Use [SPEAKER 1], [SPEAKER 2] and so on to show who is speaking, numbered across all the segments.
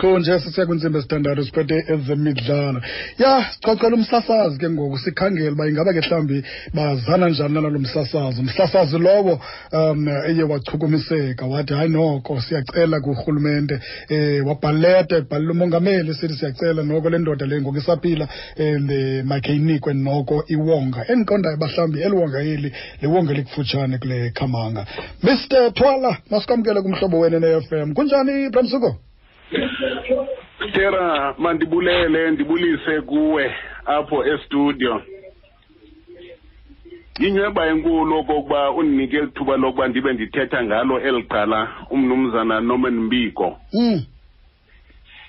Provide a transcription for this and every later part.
[SPEAKER 1] chonje sisiyakwintsimbi esithandathu siphethe ezemidlalo ya siqoqela umsasazi ke ngoku sikhangele uba ingaba ke mhlawumbi bazana njani nanalo msasazi umsasazi lowo um eye wachukumiseka wathi hayi noko siyacela kurhulumente um wabhaleta ebhalela umongameli sithi siyacela noko le ndoda le ngoku isaphila um makheyinikwe noko iwonga endiqondayo uba mhlawumbi eli wonga eli liwonga elikufutshane kule khamanga mr twala masikwamkele kumhlobo wene ne-f m kunjani bramsuko
[SPEAKER 2] Tera mandibulele ndibulise kuwe apho estudio. Inyweba enkulu okokuba undinike ithuba lokuba ndibe ndithetha ngalo eliqala umnumzana Norman Mbiko.
[SPEAKER 1] Mm.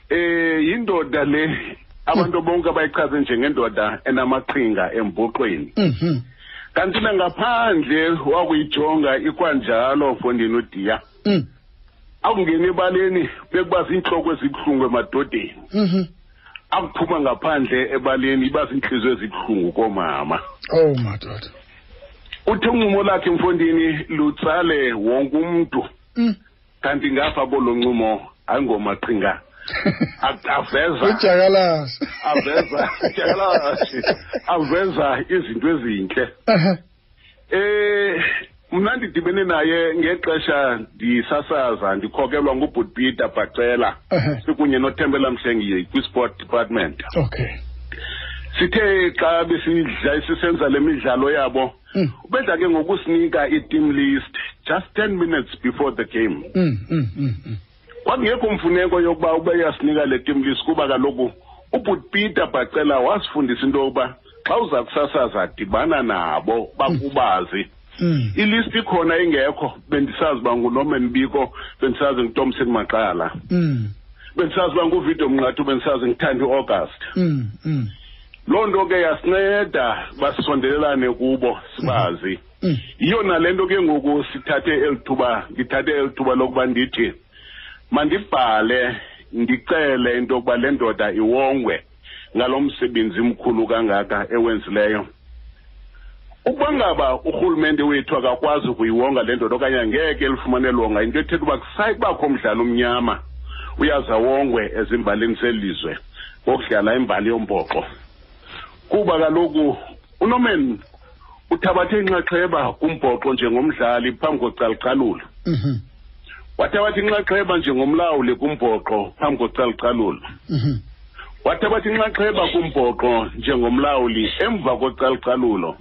[SPEAKER 2] Eh yindoda le abantu bonke abayichaze njengendoda enamaqhinga embuqweni.
[SPEAKER 1] Mhm.
[SPEAKER 2] Kanti nangaphandle wakuyijonga ikwanjalo mfondini udiya.
[SPEAKER 1] Mm.
[SPEAKER 2] Akungena ebaleni bekuba ziintloko ezibuhlungu emadodeni.
[SPEAKER 1] Mhm.
[SPEAKER 2] akuphuma ngaphandle ebaleni iba ziintliziyo ezibuhlungu koomama
[SPEAKER 1] Oh madoda.
[SPEAKER 2] uthe uncumo lakhe mfondini lutsale wonke umntu
[SPEAKER 1] Mm.
[SPEAKER 2] kanti ngapha kolo ncumo ayingomaqhinga A-
[SPEAKER 1] Oh,
[SPEAKER 2] aveza
[SPEAKER 1] Ujakalasa.
[SPEAKER 2] aveza jakalasi, aveza izinto ezintle
[SPEAKER 1] Aha.
[SPEAKER 2] eh mna ndidibene naye ngexesha ndisasaza ndikhokelwa ngubhut peter bhacela
[SPEAKER 1] Aha.
[SPEAKER 2] sikunye nothembela mhlengiye kwi-sport department
[SPEAKER 1] Okay.
[SPEAKER 2] sithe xa besidla sisenza le midlalo yabo
[SPEAKER 1] Mm.
[SPEAKER 2] ubedla ke ngokusinika i-team list just 10 minutes before the game
[SPEAKER 1] Mm. Mm. mm, Mm.
[SPEAKER 2] kwakungekho mfuneko yokuba ube yasinika le team list kuba kaloku ubutpeter bhacela wasifundisa into yokuba xa uza kusasaza dibana nabo bakubazi
[SPEAKER 1] Mm.
[SPEAKER 2] ilist ikhona ingekho bendisazi uba ngunoman biko bendisazi ngutomson maqala
[SPEAKER 1] Mm.
[SPEAKER 2] bendisazi uba nguvidio mnqathu bendisazi ngithandi iaugust
[SPEAKER 1] Mm. Mm.
[SPEAKER 2] loo nto ke yasinceda basondelelane kubo sibazi
[SPEAKER 1] Mm.
[SPEAKER 2] yiyo nale nto ke ngoku sithathe eli thuba ndithathe eli thuba lokuba ndithi mandibhale ndicele into yokuba le ndoda iwongwe ngalo msebenzi mkhulu kangaka ewenzileyo ukuba ngaba urhulumente wethu akakwazi ukuyiwonga le ndoda okanye angeke elifumane longa into ethetha uba kusaye kubakho mdlalo omnyama uyazawongwe ezimbalini selizwe ngokudlala imbali yompoqo kuba kaloku unoman uthabathe inxaxheba kumbhoxo njengomdlali phambi kocalucalulo
[SPEAKER 1] Mhm.
[SPEAKER 2] wathabatha inxaxheba njengomlawuli kumbhoxo phambi kocalucalulo
[SPEAKER 1] Mhm.
[SPEAKER 2] wathabatha inxaxheba kumbhoxo njengomlawuli emva kocalucalulo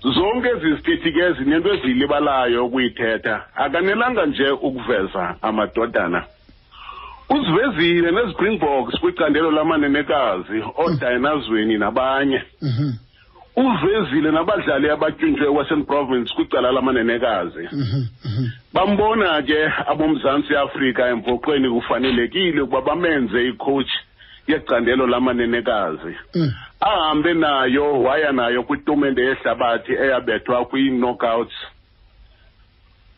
[SPEAKER 2] zonke ezi zithethi ke zinento eziyilibalayo ukuyithetha akanelanga nje ukuveza amadodana uzivezile nezipringboks kwicandelo lamanenekazi oodayenazweni nabanye
[SPEAKER 1] Mhm.
[SPEAKER 2] uvezile nabadlali abatyunjwe western province kwicala lamanenekazi
[SPEAKER 1] Mhm. Mhm.
[SPEAKER 2] bambona ke abomzantsi afrika empoqweni kufanelekile ukuba bamenze icoach yecandelo lamanenekazi
[SPEAKER 1] Mm.
[SPEAKER 2] ahambe nayo waya nayo kwitumente yehlabathi eyabethwa kwii-knockouts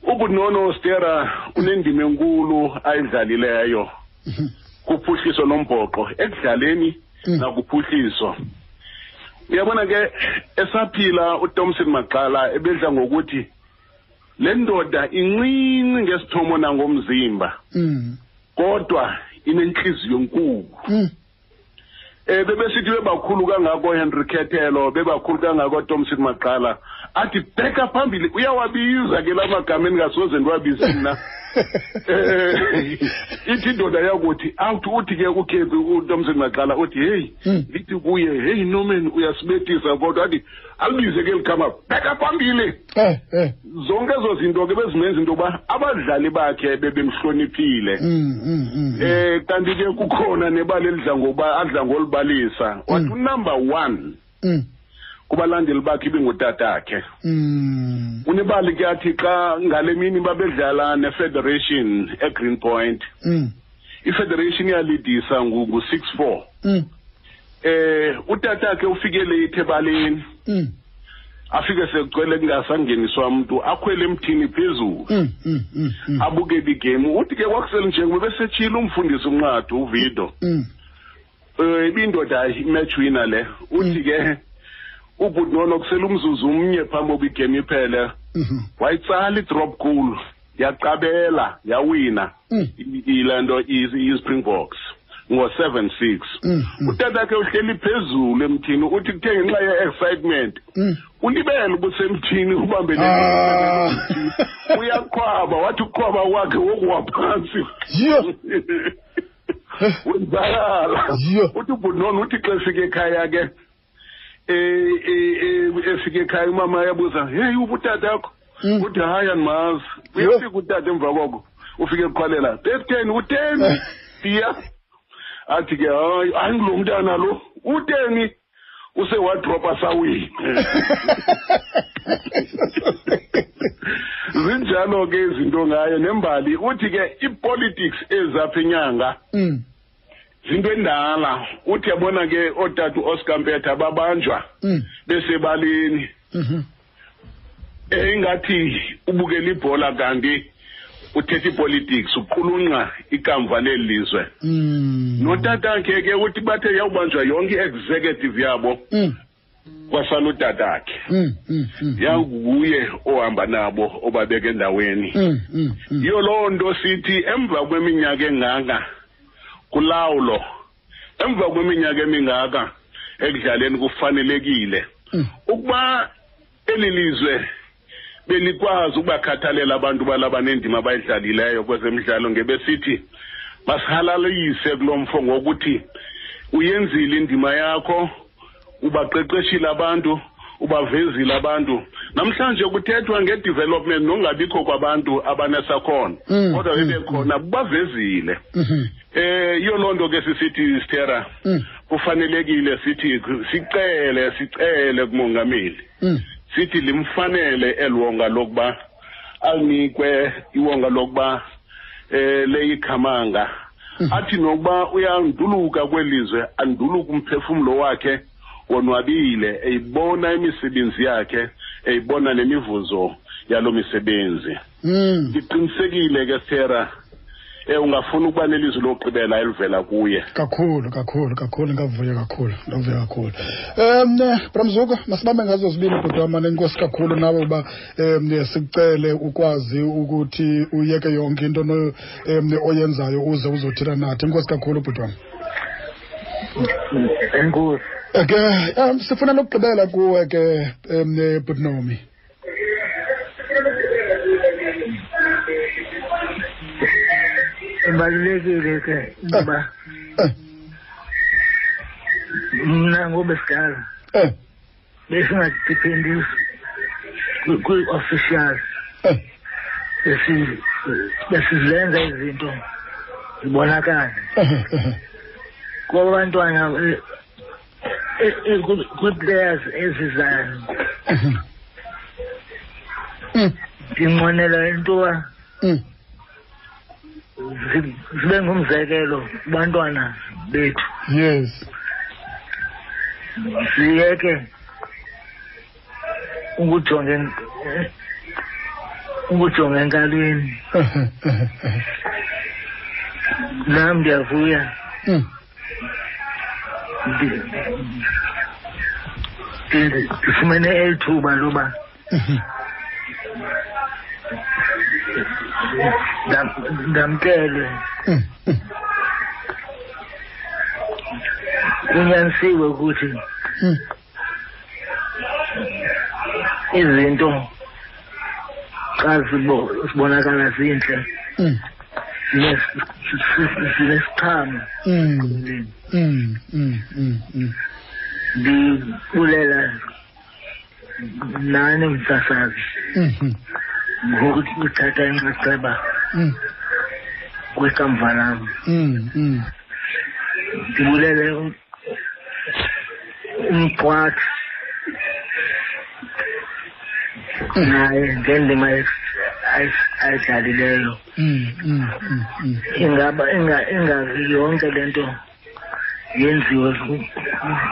[SPEAKER 2] ukunono stera unendima enkulu ayidlalileyo
[SPEAKER 1] Mhm.
[SPEAKER 2] kuphuhliso lombhoqo ekudlaleni
[SPEAKER 1] Mm.
[SPEAKER 2] nakuphuhliso uyabona ke esaphila uThomson Maqala ebedla ngokuthi le ndoda incinci ngesithomo nangomzimba
[SPEAKER 1] Mm.
[SPEAKER 2] kodwa inenhliziyo enkulu
[SPEAKER 1] Mm.
[SPEAKER 2] eh bebesithi bebakhulu kangako Henry Khethelo bebakhulu kangako Thomson Maqala athi bheka phambili uyawabiza ke lamagama engasoze ndiwabize mna eh ithi indoda yakuthi awuthi uthi ke ukhepi uThomson Maqala uthi hey
[SPEAKER 1] Mm.
[SPEAKER 2] lithi kuye hey Norman uyasibethisa kodwa athi alibize ke ligama bheka phambili
[SPEAKER 1] Eh. Eh.
[SPEAKER 2] zonke ezo zinto ke bezimenza into yokuba abadlali bakhe bebemhloniphile
[SPEAKER 1] Mm. Mm. Mm. mm.
[SPEAKER 2] eh kanti ke kukhona nebali elidla ngoba adla ngolibalisa wathi
[SPEAKER 1] Mm.
[SPEAKER 2] number 1
[SPEAKER 1] Mm.
[SPEAKER 2] kubalandeli bakhe ibingutatakhe
[SPEAKER 1] Mm.
[SPEAKER 2] unebali ke athi xa ngale mini babedlala nefederation egreen point
[SPEAKER 1] Mm.
[SPEAKER 2] ifederation iyalidisa ngu-six four
[SPEAKER 1] Mm.
[SPEAKER 2] eh utatakhe ufike late ebaleni
[SPEAKER 1] Mm.
[SPEAKER 2] afike secele kungasangeniswa mntu akhwele emthini phezulu
[SPEAKER 1] Mm. Mm. Mm. Mm.
[SPEAKER 2] abukele igemu uthi ke kwakusele njengoba besetshile umfundisi unqadi uvido
[SPEAKER 1] Mm.
[SPEAKER 2] eh ibindoda imatch winner le uthi
[SPEAKER 1] Mm.
[SPEAKER 2] ke ubhuti nono kusela umzuzu umnye phambi koba igame iphele
[SPEAKER 1] Mhm.
[SPEAKER 2] wayitsala idrop goal yaqabela yawina
[SPEAKER 1] Mm.
[SPEAKER 2] i- ile nto i- i-springboks ngo-seven six
[SPEAKER 1] Mm, mm.
[SPEAKER 2] utatakhe uhleli phezulu emthini uthi kuthe ngenxa ye-excitement
[SPEAKER 1] Mm.
[SPEAKER 2] ulibele ubusemthini
[SPEAKER 1] Ah.
[SPEAKER 2] ubambelele uyaqhwaba wathi uqhwaba kwakhe wokuwa phansi
[SPEAKER 1] Yho.
[SPEAKER 2] wenzakala
[SPEAKER 1] Yho.
[SPEAKER 2] uthi ubhunoni uthi xa efika ekhaya ke eh, eh, eh, efika ekhaya umama yabuza heyi ubutata yakho
[SPEAKER 1] Mm.
[SPEAKER 2] uthi hayi andimazi
[SPEAKER 1] Yho.
[SPEAKER 2] uyafika utata emva koko ufike eqhwalela bethen uteni iya athi ke hayi hayi ngulo mntana lo uteni usewadropa sawina zinjalo ke izinto ngayo nembali uthi ke ipolitics ezapha inyanga
[SPEAKER 1] Mm.
[SPEAKER 2] zinto endala uthi yabona ke ootata uoscar mpetha babanjwa
[SPEAKER 1] Mm.
[SPEAKER 2] besebaleni
[SPEAKER 1] Mhm.
[SPEAKER 2] engathi ubukela ibhola kanti uthetha ipolitics uqulunqa ikamva leli lizwe
[SPEAKER 1] Mm.
[SPEAKER 2] notatakhe ke uthi bathe yawubanjwa yonke i-executive yabo
[SPEAKER 1] Mm.
[SPEAKER 2] kwasala utatakhe
[SPEAKER 1] Mm. Mm. Mm.
[SPEAKER 2] yanguye ohamba nabo obabeka endaweni
[SPEAKER 1] Mm. Mm. Mm.
[SPEAKER 2] yiyo loo nto sithi emva kweminyaka engaka kulawulo emva kweminyaka emingaka ekudlaleni kufanelekile
[SPEAKER 1] Mm.
[SPEAKER 2] ukuba eli lizwe belikwazi ukubakhathalela abantu balaba nendima abayidlalileyo kwezemidlalo ngebesithi basihalalise kulo mfo ngokuthi uyenzile indima yakho ubaqeqeshile abantu ubavezile abantu namhlanje kuthethwa ngedevelopment nongabikho kwabantu abanesakhono
[SPEAKER 1] Mm,
[SPEAKER 2] kodwa
[SPEAKER 1] mm,
[SPEAKER 2] bebekhona bavezile
[SPEAKER 1] Mhm.
[SPEAKER 2] eh iyo loo nto ke sisithi stera
[SPEAKER 1] Mm.
[SPEAKER 2] kufanelekile sithi sicele sicele kumongameli
[SPEAKER 1] Mm.
[SPEAKER 2] sithi limfanele elwonga lokuba alinikwe iwonga lokuba eh leyikhamanga
[SPEAKER 1] Hmm.
[SPEAKER 2] athi nokuba uyanduluka kwelizwe anduluka umphefumulo wakhe wonwabile eyibona imisebenzi yakhe eyibona nemivuzo yalo misebenzi
[SPEAKER 1] Mm.
[SPEAKER 2] ndiqinisekile ke Sarah eh ungafuna ukuba nelizwi lokugqibela elivela kuye
[SPEAKER 1] kakhulu kakhulu kakhulu ngavuya kakhulu ngavuya kakhulu um bramzuka masibambe ngazo zibini kodwa nenkosi kakhulu nawe uba um sicele ukwazi ukuthi uyeke yonke into no- em, oyenzayo uze uzothina nathi inkosi kakhulu bhutwam
[SPEAKER 3] Enkosi.
[SPEAKER 1] ke um sifuna lokugqibela kuwe ke um bhutnomi
[SPEAKER 3] Kubalulekile ke ngoba
[SPEAKER 1] Eh,
[SPEAKER 3] mna ngoba sidala
[SPEAKER 1] eh,
[SPEAKER 3] besingadiphendisi kwi-officials
[SPEAKER 1] eh,
[SPEAKER 3] besi- besizenza izinto zibonakale
[SPEAKER 1] eh, eh,
[SPEAKER 3] kwabantwana eh, eh, eh, kwi- kwii-players ezizayo
[SPEAKER 1] eh. Mm,
[SPEAKER 3] ndinqwenela intoba
[SPEAKER 1] mm,
[SPEAKER 3] zi- zibe ngumzekelo kubantwana bethu
[SPEAKER 1] yes
[SPEAKER 3] siyeke ukujonge ukujonga enkalweni
[SPEAKER 1] Eh, eh, eh, eh.
[SPEAKER 3] nam ndiyavuya
[SPEAKER 1] Mm,
[SPEAKER 3] Ndi- ndi- ndifumene eli thuba loba
[SPEAKER 1] mhm.
[SPEAKER 3] ndam- ndamkelwe
[SPEAKER 1] Mm, mm,
[SPEAKER 3] kunyanisiwe ukuthi
[SPEAKER 1] mm.
[SPEAKER 3] izinto xa zibo- zibonakala zintle
[SPEAKER 1] Mm,
[SPEAKER 3] zine- zinesiqhamo
[SPEAKER 1] mm,
[SPEAKER 3] emlini
[SPEAKER 1] mm, mm, mm, mm.
[SPEAKER 3] ndibulela nani msasazi
[SPEAKER 1] Mhm,
[SPEAKER 3] ngokuthi uthatha inxaxheba
[SPEAKER 1] mm,
[SPEAKER 3] kwikamva lam
[SPEAKER 1] mm, mm.
[SPEAKER 3] ndibulele u- umqwathi naye ngendima ayis- ayis- ayidlalileyo
[SPEAKER 1] Mm, mm, mm, mm.
[SPEAKER 3] ingaba inga- ingavi yonke le nto yenziwe ku-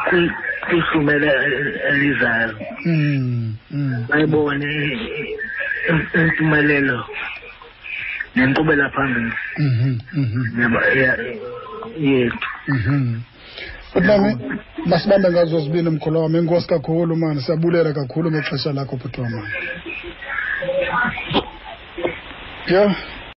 [SPEAKER 3] kwi- kwifumela eli- elizayo
[SPEAKER 1] Mm, mm.
[SPEAKER 3] bayibone im- impumelelo nenkqubela phambili
[SPEAKER 1] Mhm, mhm,
[SPEAKER 3] yaba- ya- yethu
[SPEAKER 1] mhm. Kodwa masibambe ngazo zibini mkhulu wam inkosi kakhulu mani siyabulela kakhulu ngexesha lakho bhuti wam mani. yeah